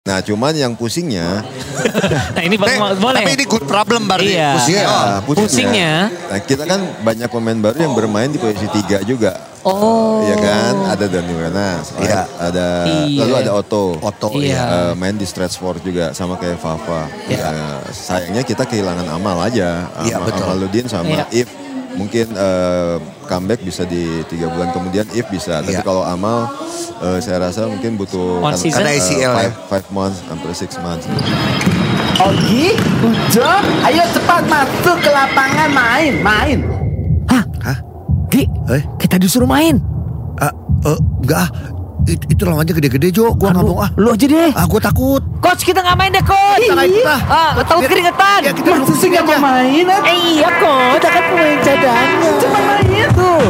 Nah cuman yang pusingnya, Nah ini bang, Tapi- boleh. Eh, Tapi ini good problem berarti. Iya. Pusingnya. Iya, Oh. Pusingnya. Nah, kita kan banyak pemain baru yang bermain di posisi tiga juga. Oh. Iya kan, ada Dani Wenas, Iya. ada Iya. lalu ada Otto. Otto, Iya. Eh, main di Stratford juga sama kayak Fafa. Iya. Eh, sayangnya kita kehilangan Amal aja. Amal, Iya, betul. Amal Ludin sama Iya. If mungkin eh, comeback bisa di tiga bulan kemudian If bisa. Tapi Iya. kalau Amal eh, saya rasa mungkin butuh One season? eh, Karena ACL ya. five, five months hampir six months. Ogi, Ujo, ayo cepat masuk ke lapangan main, main. Hah? Hah? Gi, Eh? kita disuruh main. Ah, eh, enggak ah. It- itu lawannya gede-gede Jo, gua nggak Aduh, mau ah. Lu aja deh. Ah, gua takut. Coach kita nggak main deh coach. Kita nggak ikut, ah. Ah, takut Biar- keringetan. biar kita- Masa sih nggak mau main? ah? Eh, iya coach, kita kan pemain cadangan. Cepat main. Tuh.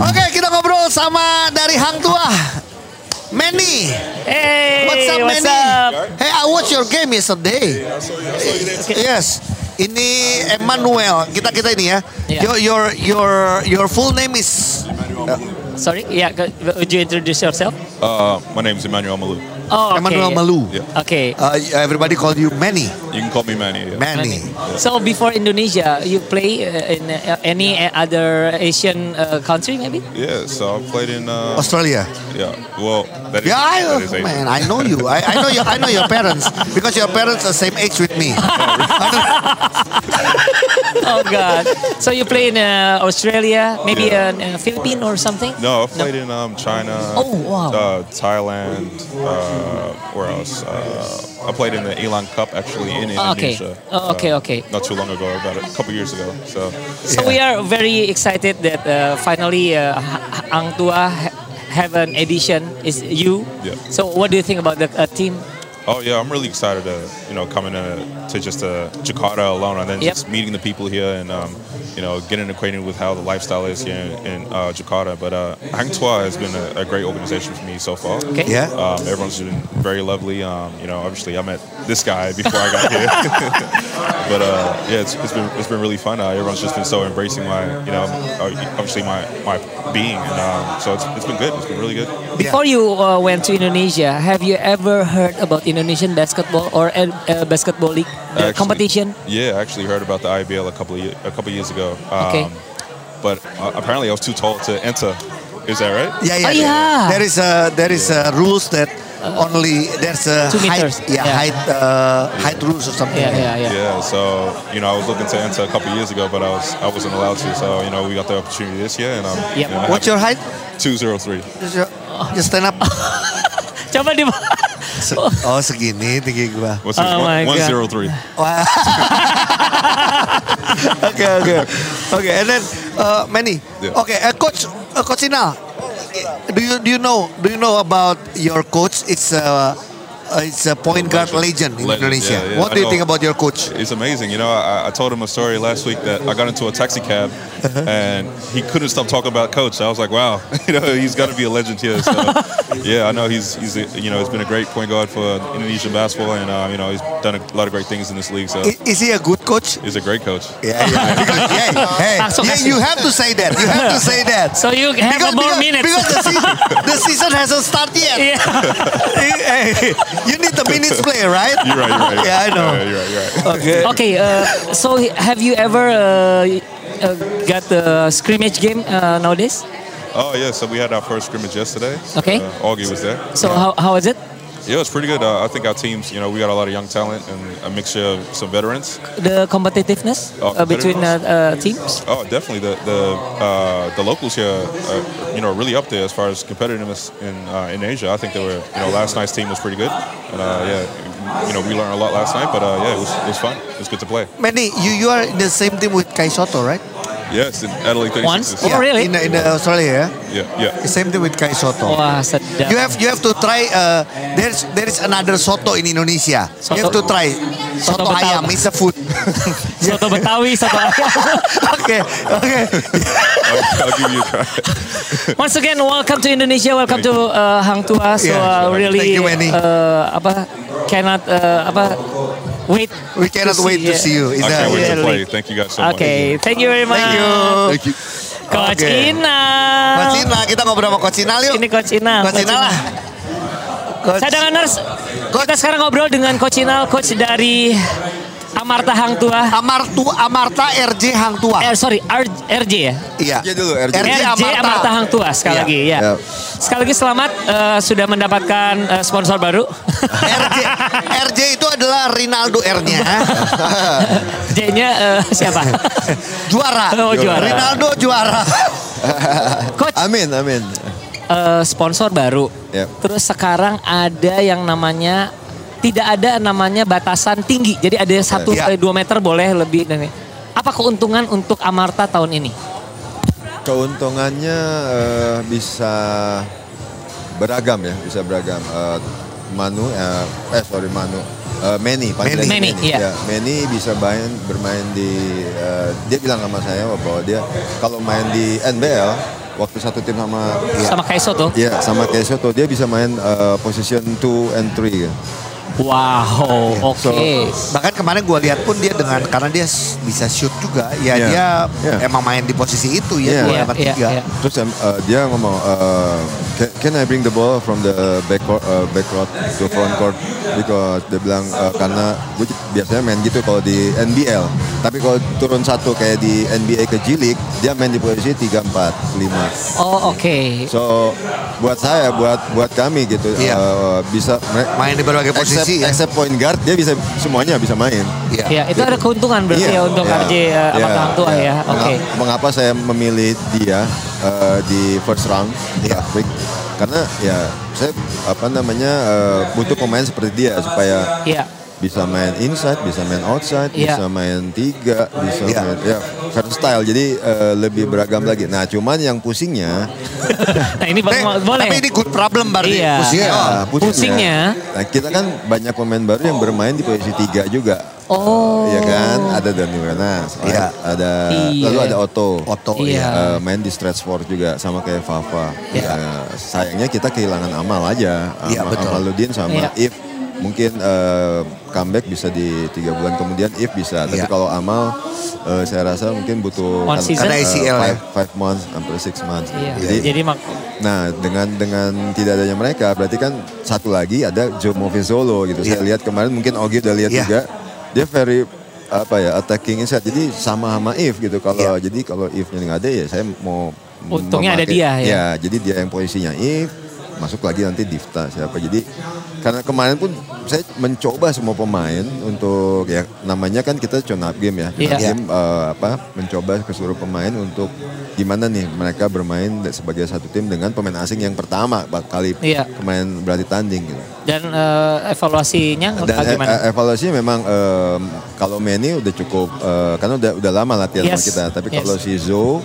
Oke, kita ngobrol sama dari Hang Tua. Manny, Hey, what's up Manny? Hey, I watch your game yesterday. Yes. Ini Emmanuel. Kita kita ini ya. Iya. Your your your your full name is Sorry, yeah, go- would you introduce yourself? Uh, my name's Emmanuel Malou. Oh, okay. Emmanuel Malu. Yeah. Okay. Uh, everybody call you Manny. You can call me Manny. Yeah. Manny. So before Indonesia, you play uh, in uh, any uh, other Asian uh, country maybe? yeah, so I played in. Uh, Australia. Yeah, well, that is. Yeah, I, that is Asian. man, I know you. I, I know your I know your parents because your parents are same age with me. Oh God. So you play in uh, Australia, maybe Yeah. in uh, Philippines or something? No, I played in um, China. Oh, wow. Uh, Thailand. Uh, where else? Uh, I played in the Elan Cup actually in Oh, okay. Indonesia. Oh, okay, okay. Not too long ago, about a couple years ago. So, So we are very excited that uh, finally uh, Ha- Ang Tua ha- have an edition. Is you? Yeah. So what do you think about the uh, team? oh yeah, I'm really excited to you know coming to, to just uh, Jakarta alone, and then Yep. just meeting the people here, and um, you know getting acquainted with how the lifestyle is here in, in uh, Jakarta. But uh, Hang Tuah has been a, a great organization for me so far. Okay. Yeah. Um, everyone's been very lovely. Um, you know, obviously I met this guy before I got here, but uh, yeah, it's, it's been it's been really fun. Uh, everyone's just been so embracing my you know uh, obviously my my being, and um, so it's, it's been good. It's been really good. Before you uh, went to Indonesia, have you ever heard about Indonesian basketball or uh, uh, basketball league uh, Actually- um, competition? Yeah, I actually heard about the IBL a couple of ye- a couple of years ago. Um, Okay. But uh, apparently I was too tall to enter. Is that right? Yeah, yeah. Oh, yeah. There is a there is a rules that only there's a Two height, meters. yeah, Yeah. height uh, height rules or something. Yeah, yeah, yeah. Yeah, so you know, I was looking to enter a couple years ago, but I was I wasn't allowed to. So you know, we got the opportunity this year, and um, Yep. you know, What's your height? two zero three? Just your- Just stand up. Coba di Se- Oh segini tinggi gua. What's his Oh my God. one zero three? Wah. Oke oke oke. And then uh, Manny. Yeah. Okay, uh, coach uh, coach Inal. Do you do you know do you know about your coach? It's a uh, it's a point guard legend in Legend, Indonesia. yeah, yeah, What I do you know. think about your coach? It's amazing. You know, I, I told him a story last week that I got into a taxi cab Uh-huh. and he couldn't stop talking about coach. I was like, wow, you know, he's got to be a legend here. So, yeah, I know he's, he's a, you know, he's been a great point guard for Indonesian basketball and, uh, you know, he's done a lot of great things in this league. So, I- Is he a good coach? he's a great coach. Yeah, yeah. Because, yeah, hey, Langsung yeah, kasih. you have to say that. You have to say that. Ah, So you have more minutes. because the, season, the season hasn't started yet. Yeah. Hey, hey, you need the minutes play, right? You're right, you're right. you're Yeah, I right. know. Yeah, you're right, you're right. Okay. Eh. Okay, uh, so have you ever uh, uh, got the scrimmage game uh, nowadays? Oh, yeah, so we had our first scrimmage yesterday. Okay. Uh, Augie was there. So how, how is it? Yeah, it's pretty good. Uh, I think our teams, you know, we got a lot of young talent and a mixture of some veterans. The competitiveness Oh, uh, between uh, uh, teams? Oh, definitely. The the uh, the locals here, are, you know, really up there as far as competitiveness in uh, in Asia. I think they were, you know, last night's team was pretty good, and uh, yeah, you know, we learned a lot last night. But uh, yeah, it was, it was fun. It was good to play. Manny, you, you are in the same team with Kai Soto, right? Yes, in Adelaide 36. Once? Oh, Yeah, really? Oh, In, in Australia, yeah? Yeah, yeah. The same thing with Kai Soto. Wah, sedap. You have you have to try. Uh, there's there is another soto in Indonesia. You have Soto- to try soto, Soto ayam. Betawi. It's a food. Soto Betawi, soto ayam. okay, okay. I'll, I'll give you a try. Once again, welcome to Indonesia, welcome to uh, Hang Tua. So Yeah, uh, really, thank you, Manny. uh, apa, cannot uh, apa, wait. We cannot wait to see you. It's I can't a- wait to Really? play. Thank you guys so much. Okay, thank you very much. Thank you. Thank you. Coach Oke. Inal. Coach Inal, kita ngobrol sama Coach Inal yuk. Ini Coach Inal. Coach Inal lah. Coach, Saya dengan nurse. Coach- Kita sekarang ngobrol dengan Coach Inal, coach dari Amarta Hang Tua. Amartu, Amarta RJ Hang Tua. Eh, sorry, R- RJ ya. Iya. RJ dulu, RJ. RJ Amarta. Hang Tua sekali Iya. lagi ya. Ya. Sekali lagi selamat eh, sudah mendapatkan eh, sponsor baru. RJ, RJ itu adalah Rinaldo R-nya. J-nya eh, siapa? juara. Oh, juara. Rinaldo juara. coach Amin, amin. eh, sponsor baru. Ya. Terus sekarang ada yang namanya tidak ada namanya batasan tinggi. Jadi ada satu Iya. Ya. kali dua meter boleh lebih dan apa keuntungan untuk Amarta tahun ini? Keuntungannya eh, bisa beragam ya, bisa beragam. Eh, Manu, eh, eh sorry Manu, Eh, Manny, panggilannya Manny, iya. Ya, Manny bisa main bermain di, eh, dia bilang sama saya bahwa dia kalau main di NBL waktu satu tim sama ya, Sama Kaiso tuh. ya, sama Kesio tuh dia bisa main eh, position 2 and 3 ya. Wow, oke. So- Bahkan kemarin gue lihat pun dia dengan karena dia s- bisa shoot juga, ya Iya. dia Iya. emang main di posisi itu ya Iya. dua Iya, sama iya, tiga. iya. Terus em, uh, dia ngomong, uh, can, can I bring the ball from the back court, uh, back court to front court? Because dia bilang uh, karena gue j- biasanya main gitu kalau di NBL. Tapi kalau turun satu kayak di NBA ke G League, dia main di posisi 3, 4, 5. Oh, oke. So buat saya, buat buat kami gitu Iya. uh, bisa mere- Main di berbagai except, posisi ya. except point guard dia bisa semuanya bisa main. Iya. Ya, itu ada keuntungan berarti Iya, ya untuk iya, RJ eh, iya, Amarta Hang Tua iya. ya. Oke. Mengapa- Mengapa saya memilih dia eh, di first round di draft pick? Karena ya saya apa namanya eh, butuh pemain seperti dia supaya Iya. bisa main inside, bisa main outside, Iya. bisa main tiga, bisa Iya. main ya versatile. Jadi eh, lebih beragam lagi. Nah, cuman yang pusingnya Nah, ini Tapi, bang, boleh. tapi ini good problem Bardi. Iya. Pusingnya. ya, Pusingnya. Nah, kita kan banyak pemain baru yang bermain di posisi tiga juga. Oh. Iya kan? Ada Dani Wenas, Iya. ada Iya. lalu ada Otto. Otto, Iya. ya, eh, main di stretch four juga sama kayak Fafa. Iya. Ya, sayangnya kita kehilangan Amal aja. Amal, Iya, betul. Amal Ludin sama If Iya. mungkin eh, comeback bisa di tiga bulan kemudian If bisa. Tapi Iya. kalau Amal eh, saya rasa mungkin butuh One season? eh, Karena ACL ya. five, five months sampai six months. Iya. Jadi, Jadi mak Nah, dengan dengan tidak adanya mereka, berarti kan satu lagi ada Jomo Vizolo gitu. Saya Iya. lihat kemarin mungkin Ogi udah lihat Iya. juga. Dia very apa ya attacking inside. Jadi sama sama If gitu. Kalau Iya. jadi kalau If-nya nggak ada ya saya mau Untungnya ada memakai- Iya, dia, ya. jadi dia yang posisinya If masuk lagi nanti Difta siapa. Jadi karena kemarin pun saya mencoba semua pemain untuk ya namanya kan kita turn up game ya. Turn up Iya. game eh, apa mencoba ke seluruh pemain untuk gimana nih mereka bermain sebagai satu tim dengan pemain asing yang pertama bak- kali Iya. pemain berarti tanding gitu. dan eh, Dan evaluasinya e- bagaimana? e- evaluasinya memang em, kalau Manny udah cukup eh, karena udah udah lama latihan Yes. sama kita. Tapi Yes. kalau si Zo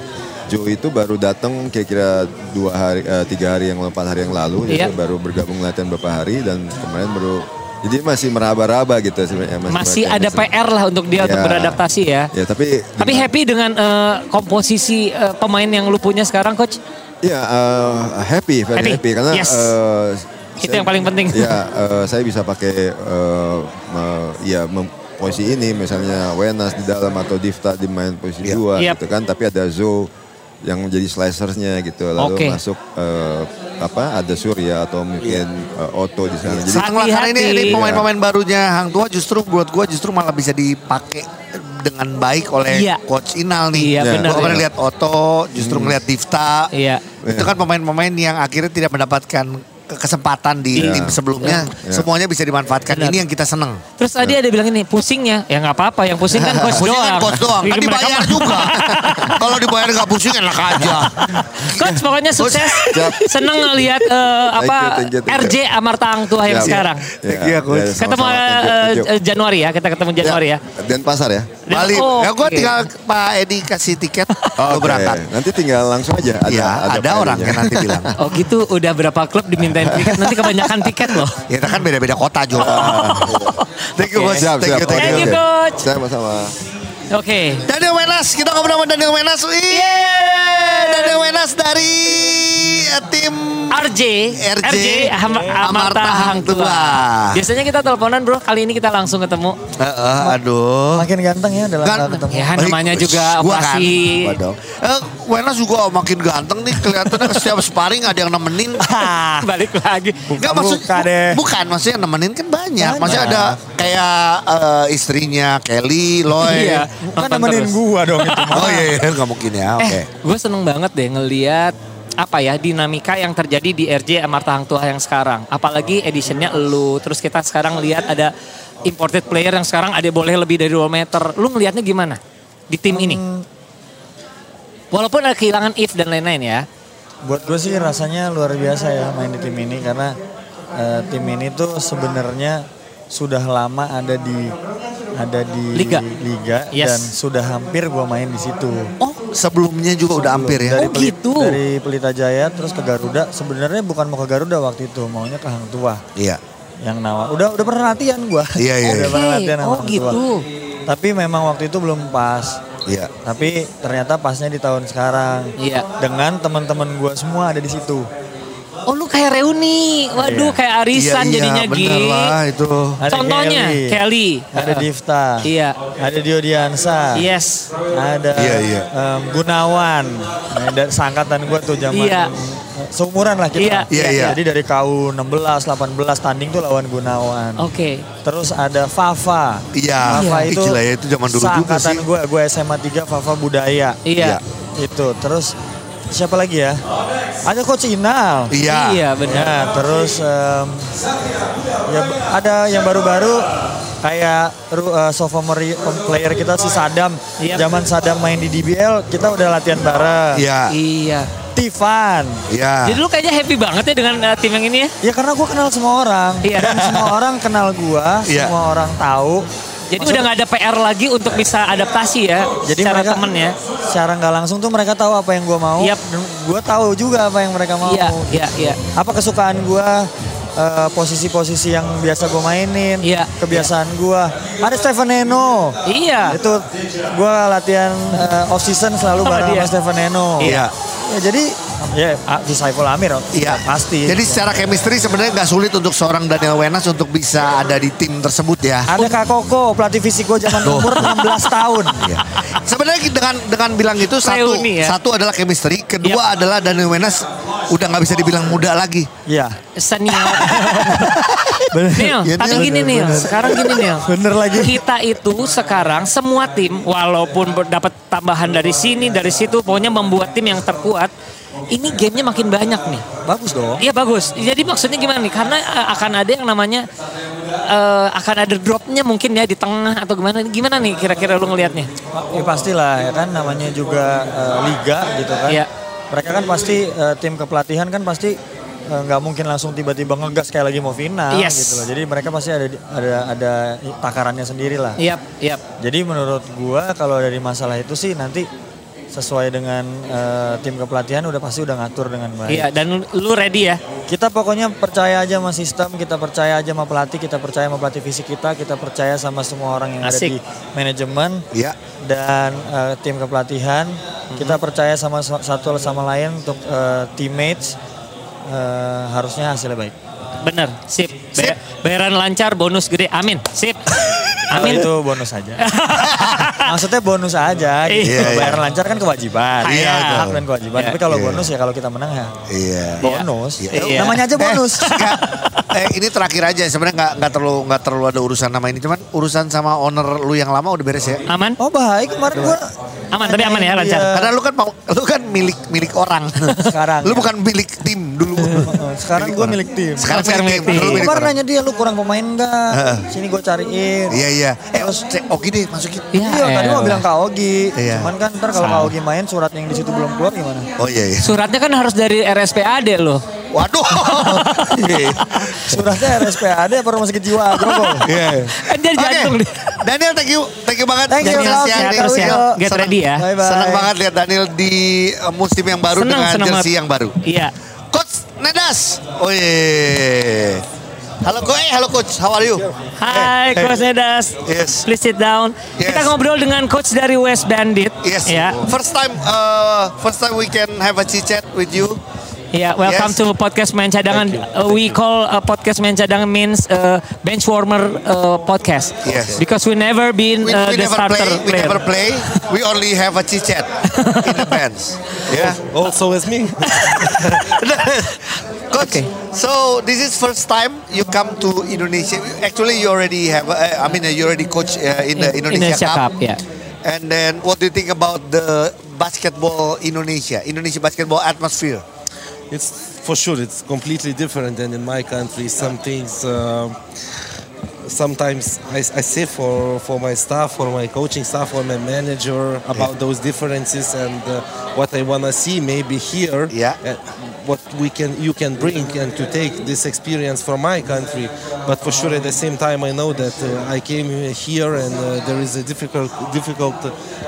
Joe itu baru datang kira-kira dua hari, eh, tiga hari yang lalu, empat hari yang lalu, Iya. Jadi baru bergabung latihan beberapa hari dan kemarin baru, jadi masih meraba-raba gitu sebenarnya. Masih meraba- ada PR lah untuk dia untuk Iya. beradaptasi ya. Ya tapi, Tapi dengan- happy dengan eh, komposisi eh, pemain yang lu punya sekarang coach? Ya uh, happy, very Happy, happy, karena yes. uh, Itu yang paling penting. Ya, uh, saya bisa pakai uh, me- ya mem- posisi ini misalnya Wenas di dalam atau Difta di main posisi Iya. dua Yep. gitu kan, tapi ada Zo yang jadi slicersnya gitu, lalu Oke. masuk uh, apa ada Surya atau mungkin uh, Otto di sana. Jadi Seneng lah, karena ini, ini Hati-hati. pemain-pemain barunya Hang Tua justru buat gue justru malah bisa dipakai dengan baik oleh Iya. coach Inal Iya, nih. benar, Gue kemarin iya. lihat Otto, justru Hmm. melihat Difta. Iya. Itu kan pemain-pemain yang akhirnya tidak mendapatkan ke- kesempatan di Iya. tim sebelumnya. Semuanya bisa dimanfaatkan. Benar. Ini yang kita seneng. Terus tadi Iya. ada bilang ini pusingnya, ya nggak apa-apa. Yang pusing kan coach Pusing doang. kan coach doang. Kan Mereka dibayar mah- juga. Kalau dibayar nggak pusing enak aja. Coach pokoknya sukses. Seneng ngelihat eh, apa thank you, thank you. RJ Amarta Hang Tua Ya. yang sekarang. Thank you, Coach. sama-sama. Ketemu Thank you, eh, thank you. eh, Januari ya, kita ketemu Januari ya. Dan pasar ya. Dan- Balik. oh, ya gue oke. tinggal Pak Edi kasih tiket. Lo Oke, Oh, berangkat. Nanti tinggal langsung aja. Ada, Iya, ada planning-nya. orang yang nanti bilang. Oh gitu, udah berapa klub dimintain tiket, nanti kebanyakan tiket loh. Ya kita kan beda-beda kota juga. thank you, Oke. Coach. Siap, Thank siap. you, thank Oke, you, oke. Coach. Sama-sama. Oke. Daniel Wenas, kita ngobrol sama Daniel Wenas. Ih, Daniel Wenas dari eh, tim RJ, RJ, RJ Ham- Amarta Amarta Hangtua. Hangtua. Biasanya kita teleponan bro, kali ini kita langsung ketemu. Eh, eh, aduh. Makin ganteng ya dalam Kan- hal ketemu. Ya Baik, namanya juga gua kan. operasi. Waduh. Eh, Wenas juga makin ganteng nih kelihatannya setiap sparring ada yang nemenin. Balik lagi. Enggak maksud bukan deh. bukan maksudnya nemenin kan banyak. Banyak. Maksudnya ada kayak eh, istrinya Kelly, Loy. Iya. Kan nonton nemenin terus. gua dong itu. Oh iya, iya nggak mungkin ya. Oke. Eh, gue seneng banget deh ngeliat apa ya dinamika yang terjadi di RJ Amarta Hang Tua yang sekarang. Apalagi editionnya elu. Terus kita sekarang lihat ada imported player yang sekarang ada boleh lebih dari 2 meter. Lu ngelihatnya gimana di tim ini? Walaupun ada kehilangan If dan lain-lain ya. Buat gue sih rasanya luar biasa ya main di tim ini karena eh, tim ini tuh sebenarnya sudah lama ada di ada di Liga. Yes. dan sudah hampir gua main di situ. Oh, sebelumnya juga udah hampir ya. Dari Oh, Peli- gitu. Dari Pelita Jaya terus ke Garuda. Sebenarnya bukan mau ke Garuda waktu itu, maunya ke Hang Tua Iya. yang nawa. Udah udah pernah latihan gua. Iya, iya, Udah iya. pernah Oke, latihan sama oh Hang Tua. gitu. Tapi memang waktu itu belum pas. Iya. Tapi ternyata pasnya di tahun sekarang. Iya. Dengan teman-teman gue semua ada di situ. Oh lu kayak reuni. Waduh Iya. kayak arisan Iya, jadinya iya, Gi. bener lah itu. Ada Contohnya Kelly. Kelly. Ada Ah. Difta. Iya. Ada Diodiansa. Yes. Ada Iya, iya. em, Gunawan. Nah, dari sangkatan gue tuh zaman Iya. seumuran lah Iya. kita. Iya, iya. Jadi dari KU 16, 18 tanding tuh lawan Gunawan. Oke. Terus ada Fafa. Iya. Fafa Ih, itu gila ya, itu zaman dulu juga seangkatan sih. gue, gue SMA 3 Fafa Iya. Budaya. Iya. Itu. Terus siapa lagi ya? Ada Coach Inal. Iya. Iya benar. Ya, terus em, ya ada yang baru-baru kayak ru- eh, sophomore player kita si Sadam. Iya. Zaman Sadam main di DBL, kita udah latihan bareng. Iya. Iya. Tivan. Iya. Ah. Jadi lu kayaknya happy banget ya dengan eh, tim yang ini ya? Ya karena gue kenal semua orang. Iya. Dan semua orang kenal gua, Iya. semua orang tahu. Jadi udah nggak ada PR lagi untuk bisa adaptasi ya, Jadi secara mereka- temen ya. Secara nggak langsung tuh mereka tahu apa yang gua mau. Yap. Dan Gua tahu juga apa yang mereka mau. Iya, iya, iya. apa kesukaan gua eh, posisi-posisi yang biasa gua mainin Iya. kebiasaan gua ada Stefan Eno Iya. itu gua latihan eh, off season selalu Sama bareng dia. sama Stefan Eno Iya. ya, jadi ya ah, di Saiful Amir oh, Iya. pasti Jadi secara chemistry sebenarnya nggak sulit untuk seorang Daniel Wenas untuk bisa ada di tim tersebut ya. ada Kak Koko pelatih fisik gua zaman Tuh. umur 16 tahun Iya. Sebenarnya dengan dengan bilang itu satu Reuni ya. satu adalah chemistry, kedua adalah Daniel Wenas udah nggak bisa dibilang muda lagi. Iya Senior. bener Nil, Iya, tapi Nil. gini Bener, Nil, bener. sekarang gini Nil. Bener lagi. Kita itu sekarang semua tim, walaupun ber- dapat tambahan dari sini, dari situ, pokoknya membuat tim yang terkuat. Ini gamenya makin banyak nih. bagus dong Iya bagus. Jadi maksudnya gimana nih? Karena eh, akan ada yang namanya eh, akan ada dropnya mungkin ya di tengah atau gimana? Gimana nih kira-kira lu ngelihatnya? Ya pastilah ya kan namanya juga eh, liga gitu kan. Iya. Mereka kan pasti eh, tim kepelatihan kan pasti eh, nggak mungkin langsung tiba-tiba ngegas kayak lagi mau final Yes. gitu loh. Jadi mereka pasti ada ada ada takarannya sendiri lah. Iya, iya. Jadi menurut gua kalau dari masalah itu sih nanti sesuai dengan eh, tim kepelatihan udah pasti udah ngatur dengan baik. Iya, dan lu ready ya? Kita pokoknya percaya aja sama sistem, kita percaya aja sama pelatih, kita percaya sama pelatih fisik kita, kita percaya sama semua orang yang Asik. ada di manajemen Iya. dan eh, tim kepelatihan. Hmm. Kita percaya sama sa- satu sama lain untuk eh, teammates eh, harusnya hasilnya baik. Bener, sip. Bay- bayaran lancar, bonus gede. Amin. Sip. Kalau Amin. itu bonus aja. Maksudnya bonus aja. Gitu. Iya, iya. Bayar lancar kan kewajiban. Iya, betul. Hak dan kewajiban. Tapi kalau bonus ya kalau kita menang ya Iya. bonus. Iya. Namanya aja bonus. Eh, nggak. Eh, ini terakhir aja sebenarnya nggak nggak terlalu nggak terlalu ada urusan nama ini cuman urusan sama owner lu yang lama udah beres ya. Aman? Oh baik kemarin gua Iya. Aman, tapi aman ya nanyain lancar. dia. Karena lu kan mau- lu kan milik milik orang. Sekarang, Lu ya. bukan milik tim dulu. Sekarang gue milik tim. Sekarang, Sekarang milik milik tim. tim. Lu milik Kemarin orang. nanya dia lu kurang pemain Heeh. gak? Sini gue cariin. Iya iya. Eh, cek Oki deh masukin. Iya, Iya, tadi elah. mau bilang Kak Ogi. Iya. Cuman kan ntar kalau Kak Ogi main surat yang di situ belum keluar gimana? Oh iya iya. Suratnya kan harus dari RSPAD loh. Waduh. Iya, Suratnya RSPAD apa rumah sakit jiwa? Grogol. Iya. Eh, Dia Oke. jantung deh. Daniel thank you. Thank you banget. Thank you, Daniel Prof. Siang. Sehat terus ya. Widodo. Get Senang- ready ya. Bye-bye. Senang banget lihat Daniel di eh, musim yang baru Senang, dengan senang jersey banget. yang baru. Iya. Coach Nedas. Oh iya. Halo Coach, eh, halo Coach. How are you? Hai Coach Nedas. Yes. Please sit down. Yes. Kita ngobrol dengan coach dari West Bandit. Yes. eh, Ya. First time uh, first time we can have a chit chat with you. Yeah, Ya, welcome Yes. to podcast main cadangan. Uh, we call uh, podcast main cadangan means uh, bench warmer uh, podcast. Yes. Because we never been We, uh, we the never starter play. We player. never play. We only have a chit chat in the bands. Yeah. Also with Oh, me. Coach, Okay. so this is first time you come to Indonesia. Actually, you already have. Uh, I mean, uh, you already coach uh, in the In- Indonesia, Indonesia Cup. Cup, yeah. And then, what do you think about the basketball Indonesia, Indonesia basketball atmosphere? It's for sure. It's completely different than in my country. Some things. um sometimes I, I say for for my staff, for my coaching staff, for my manager about those differences and uh, what I wanna see maybe here. Yeah. uh, what we can you can bring and to take this experience from my country. But for sure, at the same time, I know that uh, I came here and uh, there is a difficult difficult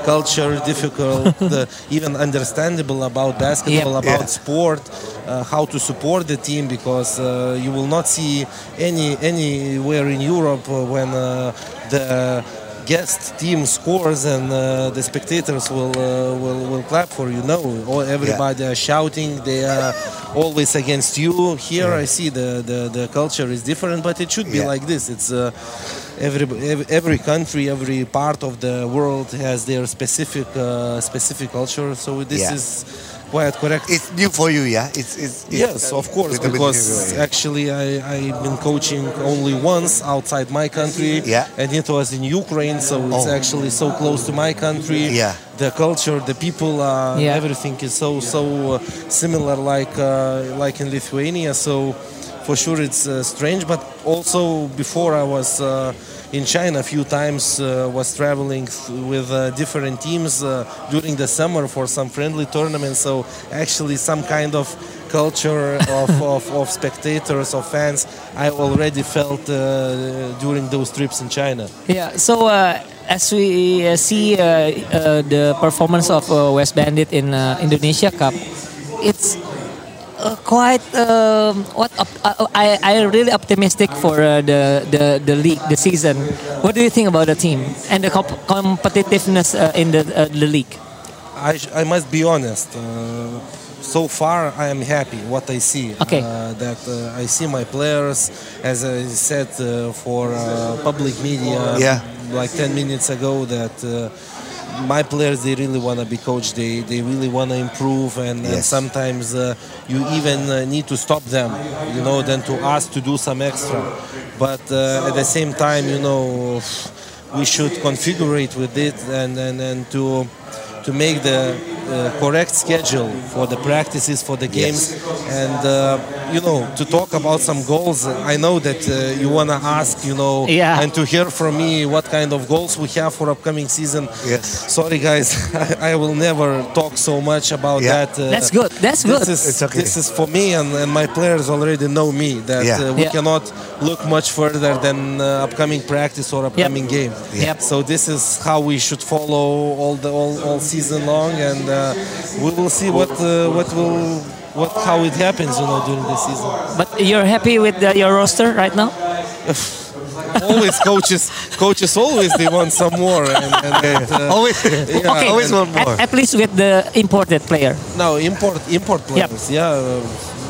culture, difficult uh, even understandable about basketball, Yep. about Yeah. sport, uh, how to support the team because uh, you will not see any anywhere in Europe uh, when uh, the guest team scores and uh, the spectators will, uh, will will clap for you. No, all, everybody are shouting. They are always against you. Here I see the, the, the culture is different, but it should be Yeah. like this. It's uh, every, ev- every country, every part of the world has their specific uh, specific culture. So this Yeah. is quite correct. It's new for you, yeah. It's, it's, it's Yes, of course, little bit because new, yeah. actually I, I've been coaching only once outside my country, Yeah. and it was in Ukraine, so it's Oh. actually so close to my country. Yeah. The culture, the people, uh, Yeah. everything is so so uh, similar, like uh, like in Lithuania. So for sure it's uh, strange, but also before I was. Uh, in China, a few times uh, was traveling th- with uh, different teams uh, during the summer for some friendly tournaments. So actually, some kind of culture of, of, of spectators, of fans, I already felt uh, during those trips in China. Yeah, so uh, as we uh, see uh, uh, the performance of uh, West Bandit in uh, Indonesia Cup, it's uh, quite um, what op- uh, I I really optimistic for uh, the the the league the season. What do you think about the team and the comp- competitiveness uh, in the uh, the league? I, sh- I must be honest. Uh, so far, I am happy what I see. Okay. Uh, that uh, I see my players, as I said uh, for uh, public media Yeah. like 10 minutes ago, that uh, my players they really want to be coached. They they really want to improve, and, and Yes. sometimes uh, you even uh, need to stop them, you know, than to ask to do some extra. But uh, at the same time, you know, we should configure it with it and and, and to to make the uh, correct schedule for the practices for the games and uh, you know to talk about some goals i know that uh, you want to ask you know Yeah. and to hear from me what kind of goals we have for upcoming season Yes. sorry guys i, I will never talk so much about Yeah. that uh, That's good. That's this good. is, It's okay. this is for me and, and my players already know me that Yeah. uh, we Yeah. cannot look much further than uh, upcoming practice or upcoming game Yep. so this is how we should follow all the all, all season long and uh, we will see what uh, what will what how it happens you know during the season But you're happy with the, your roster right now? always coaches coaches always they want some more and, and uh, Always, yeah, Okay. always want At, more. at least with the imported player. No, import import Yep. players. Yeah, uh,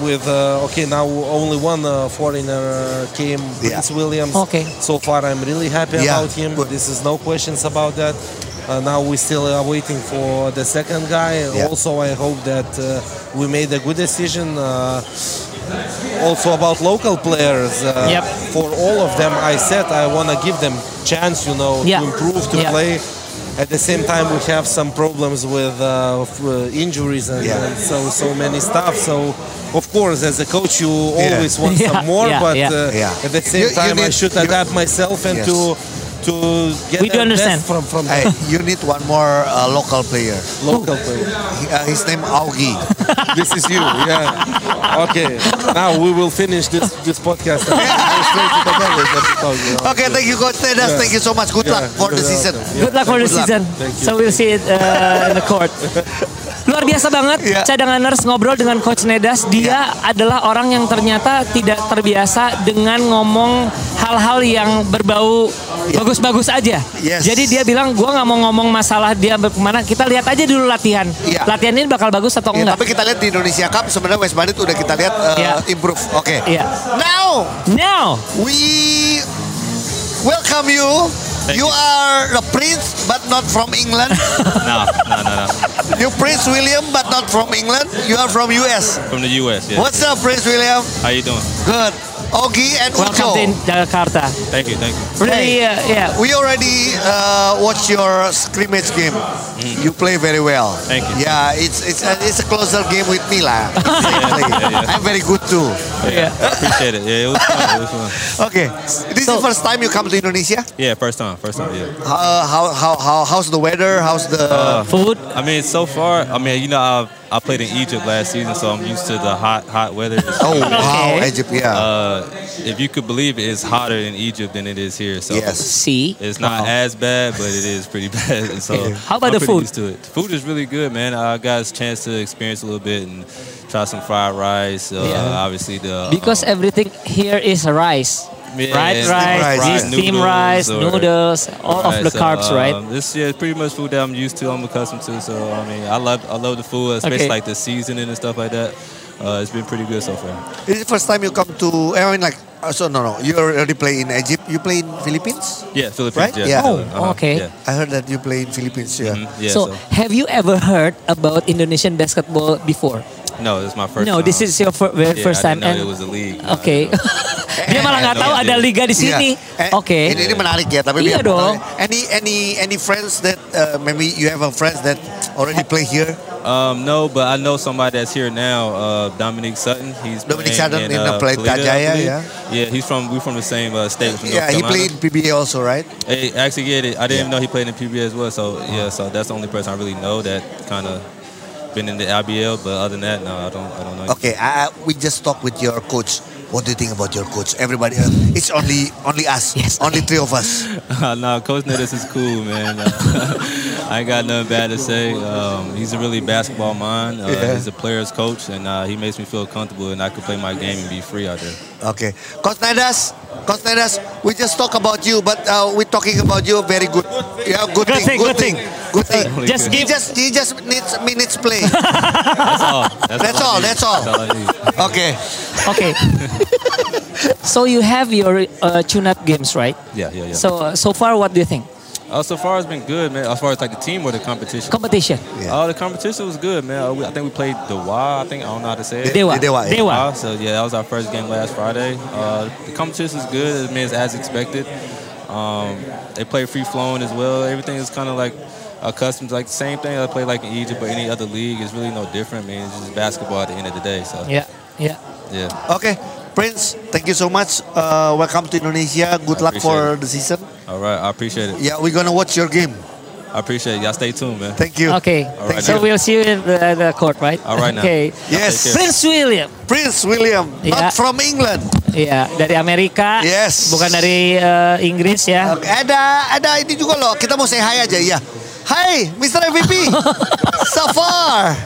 with uh, okay now only one uh, foreigner uh, came, Prince Williams. Okay. So far, I'm really happy Yeah, about him. good. This is no questions about that. Uh, now we still are waiting for the second guy. Yeah. Also, I hope that uh, we made a good decision. Uh, also about local players. Uh, Yep. For all of them, I said I want to give them chance, you know, Yeah. to improve, to Yeah. play. At the same time, we have some problems with uh, f- uh, injuries and, Yeah. and so so many stuff. So, of course, as a coach, you always want Yeah, some more, yeah, but yeah. Uh, Yeah. at the same You- you time, I need- should you- adapt myself and Yes. to to We get do the understand. best from from Hey, you need one more uh, local player. local players. He- uh, his name Augie. This is you, yeah. Okay, now we will finish this this podcast. Go straight to the topic, that's the topic, yeah. Okay, thank you, Coach Tedas. Thank you so much. Good Yeah, luck for the you're season. welcome. Good luck for the Good luck. season. Thank you. So we'll see it uh, in the court. Lu luar biasa banget. Iya. Cadanganers ngobrol dengan Coach Nedas. Dia adalah orang yang ternyata tidak terbiasa dengan ngomong hal-hal yang berbau bagus-bagus aja. Yes. Jadi dia bilang, gua nggak mau ngomong masalah dia kemana. Kita lihat aja dulu latihan. Iya. Latihan ini bakal bagus Oh, atau Ya, enggak? tapi kita lihat di Indonesia Cup sebenarnya West Bandit udah kita lihat uh, Iya. improve. Oke. Iya. Now Now, we welcome you. you are the prince but not from England. No, no, no, no. you Prince William but not from England. You are from US. From the U.S. Yeah. What's up Prince William? How you doing? Good. Ogi and welcome to Ucho. Jakarta. Thank you, thank you. Really, uh, yeah. We already uh, watched your scrimmage game. You play very well. Hmm. Thank you. Yeah, it's it's a, it's a closer game with me lah. Exactly. I'm very good too. Yeah. I appreciate it. Yeah, it was fun. It was fun. Okay, this is the first time you come to Indonesia. Yeah, first time, first time. Yeah. Uh, how, how how how's the weather? How's the Food. I mean, so far, I mean, you know, I, I played in Egypt last season, so I'm used to the hot, hot weather. oh wow okay. Egypt? Yeah, Uh, if you could believe it, it's hotter in Egypt than it is here. So yes. See. It's not as bad, but it is pretty bad. And so How about I'm the food? pretty Used to it. The food is really good, man. I got a chance to experience a little bit and try some fried rice. Uh, Yeah. Obviously, the Because um, everything here is rice. yeah, Fried steamed rice, rice, steamed rice, or- noodles, all of Right, the so, carbs, right? um, This yeah, it's pretty much food that I'm used to, I'm accustomed to. So I mean, I love I love the food, Okay. especially like the seasoning and stuff like that. Uh, it's been pretty good so far. This is the first time you come to. I mean, like uh, so no no. You already play in Egypt. You play in Philippines. Yeah, Philippines. Right? Yeah. Yeah. Philly, Oh, okay. Yeah. I heard that you play in Philippines. Yeah. Mhm, yeah, so, so, have you ever heard about Indonesian basketball before? no, this is my first. no, time. this is your fir- very yeah, first I time. didn't know and- Oh. it was a league. No, Oke. no. Dia malah nggak tahu ada liga di sini. Yeah. Eh, Oke. Ini, ini menarik ya, tapi Iya biar menarik. dong. Any any any friends that uh, maybe you have a friends that already play here? Um, no, but I know somebody that's here now, uh, Dominic Sutton. He's Dominic playing Sutton in, in, uh, uh, played Toledo, I Tajaya, believe. yeah. Yeah, he's from we're from the same uh, state. From Yeah, he North Carolina. played in PBA also, right? Hey, actually, yeah, I didn't even know he played in PBA as well. So yeah, so that's the only person I really know that kind of been in the IBL. But other than that, no, I don't, I don't know. Okay, I, I- we just talked with your coach. What do you think about your coach? Everybody, else. it's only only us, Yes, only three of us. no, Coach Nettis is cool, man. Uh, I ain't got nothing bad to say. Um, he's a really basketball mind. Uh, Yeah. He's a player's coach, and uh, he makes me feel comfortable, and I can play my game and be free out there. Okay, Coach Nedas, Coach Nedas, we just talk about you, but uh, we're talking about you. Very good, yeah, good, Good thing, thing, good good thing, good thing. Just He give- just he just needs minutes play. That's all. Oh, That's all, I need. that's all. I need. okay, Oke. so you have your uh, tune-up games, right? Yeah, yeah, yeah. So, So uh, so far, what do you think? uh, so far it's been good, man. As far as like the team or the competition. Competition. Yeah. Oh, the competition was good, man. Uh, we- I think we played the Y. I think I don't know how to say it. Dewa. Dewa, yeah. Dewa. Uh, so yeah, that was our first game last Friday. Uh, the competition is good. I mean, it's as expected. Um, they play free flowing as well. Everything is kind of like accustomed, like the same thing I play like in Egypt or any other league. It's really no different. I mean, it's just basketball at the end of the day. So yeah, Yeah, yeah. okay, Prince, thank you so much. Uh, welcome to Indonesia. Good I luck for the season. All right, I appreciate it. Yeah, we're gonna watch your game. I appreciate it. Y'all stay tuned, man. Thank you, Okay. right, so dude. we'll see you in the, the court, right? All right now. Okay. Yes. Take care. Prince William. Prince William, Yeah. not from England. Iya, dari Amerika. Yes. Bukan dari eh, Inggris ya. Oke, ada ada ini juga loh. Kita mau say hi aja ya. Hai, Mr. MVP. Safar.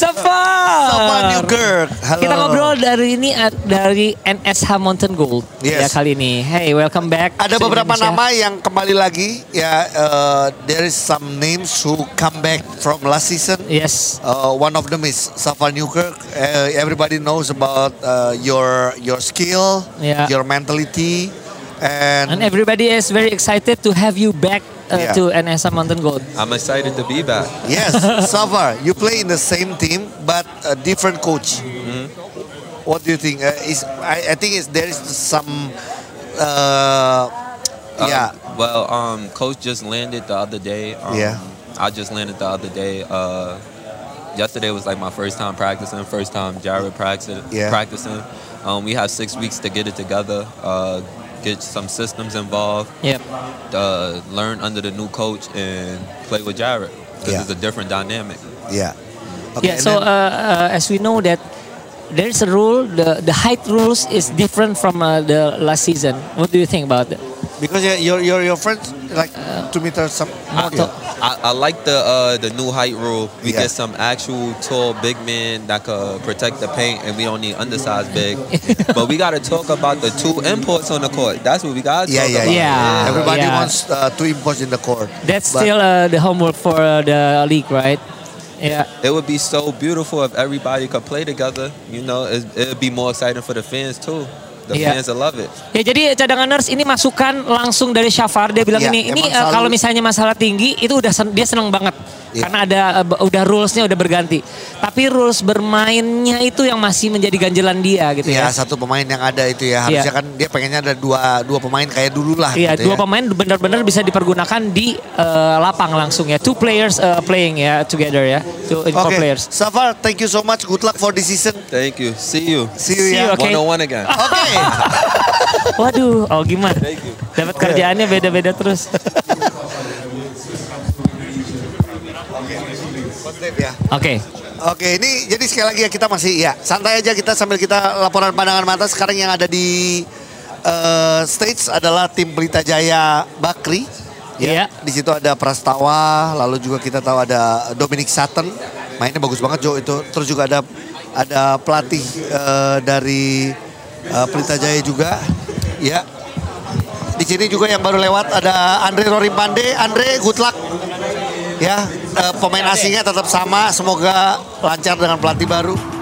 Safar Safar. Newkirk. Halo. Kita ngobrol dari ini eh, dari NSH Mountain Gold ya Yes. kali ini. Hey, welcome back. Ada to beberapa Indonesia. nama yang kembali lagi ya. eh, there is some names who come back from last season. Yes. Uh, one of them is Safar Newkirk. Uh, everybody knows about uh, your your skill, Yeah. your mentality, And and, everybody is very excited to have you back eh, Yeah. to NSH Mountain Gold. I'm excited to be back. yes, Safar, you play in the same team but a different coach. What do you think? Uh, is I, I think is there is some uh, yeah Um, well, um, coach just landed the other day. Um, Ah. Yeah. I just landed the other day. Uh, yesterday was like my first time practicing, first time Jared practicing. Yeah. practicing. Um, we have six weeks to get it together, uh, get some systems involved, Yep. uh, learn under the new coach, and play with Jared because Yeah. it's a different dynamic. yeah. Yeah, and so then- uh, uh, as we know that there is a rule, the the height rules is different from uh, the last season. What do you think about that? Because your- your your your friends like Uh, to meet her some more. Yeah. I, I like the uh, the new height rule. We Yeah. get some actual tall big men that could protect the paint, and we don't need undersized big. but we got to talk about the two imports on the court. That's what we got to Yeah, yeah, talk about. Yeah. Everybody yeah. wants uh, to impose in the core. That's But- still uh, the homework for uh, the league, right? Yeah. It would be so beautiful if everybody could play together. You know, it would be more exciting for the fans too. The Yeah. fans will love it. Ya jadi cadangan nurse ini masukan langsung dari Syafar dia bilang Iya, ini ini emang eh, selalu- kalau misalnya masalah tinggi itu udah sen- dia seneng banget Iya. karena ada eh, b- udah rulesnya udah berganti tapi rules bermainnya itu yang masih menjadi ganjelan dia gitu Ya, ya. satu pemain yang ada itu ya. Iya. Harusnya kan dia pengennya ada dua dua pemain kayak dulu lah. Iya, gitu dua ya. pemain benar-benar bisa dipergunakan di eh, lapang langsung ya. Two players eh, playing ya together ya. Two in four Oke, players. Safar, thank you so much. Good luck for this season. Thank you. See you. See you See you, ya. Okay. One on one again. Oke. Waduh, oh gimana? Dapat kerjaannya beda-beda terus. Positif ya. Oke. Oke, ini jadi sekali lagi ya kita masih ya santai aja kita sambil kita laporan pandangan mata sekarang yang ada di eh, stage adalah tim Pelita Jaya Bakri. Iya. Ya, Di situ ada Prastawa, lalu juga kita tahu ada Dominic Sutton. Mainnya bagus banget Jo itu. Terus juga ada ada pelatih eh, dari eh, Pelita Jaya juga. Ya. Di sini juga yang baru lewat ada Andre Rorimpande. Andre, good luck ya eh, pemain asingnya tetap sama semoga lancar dengan pelatih baru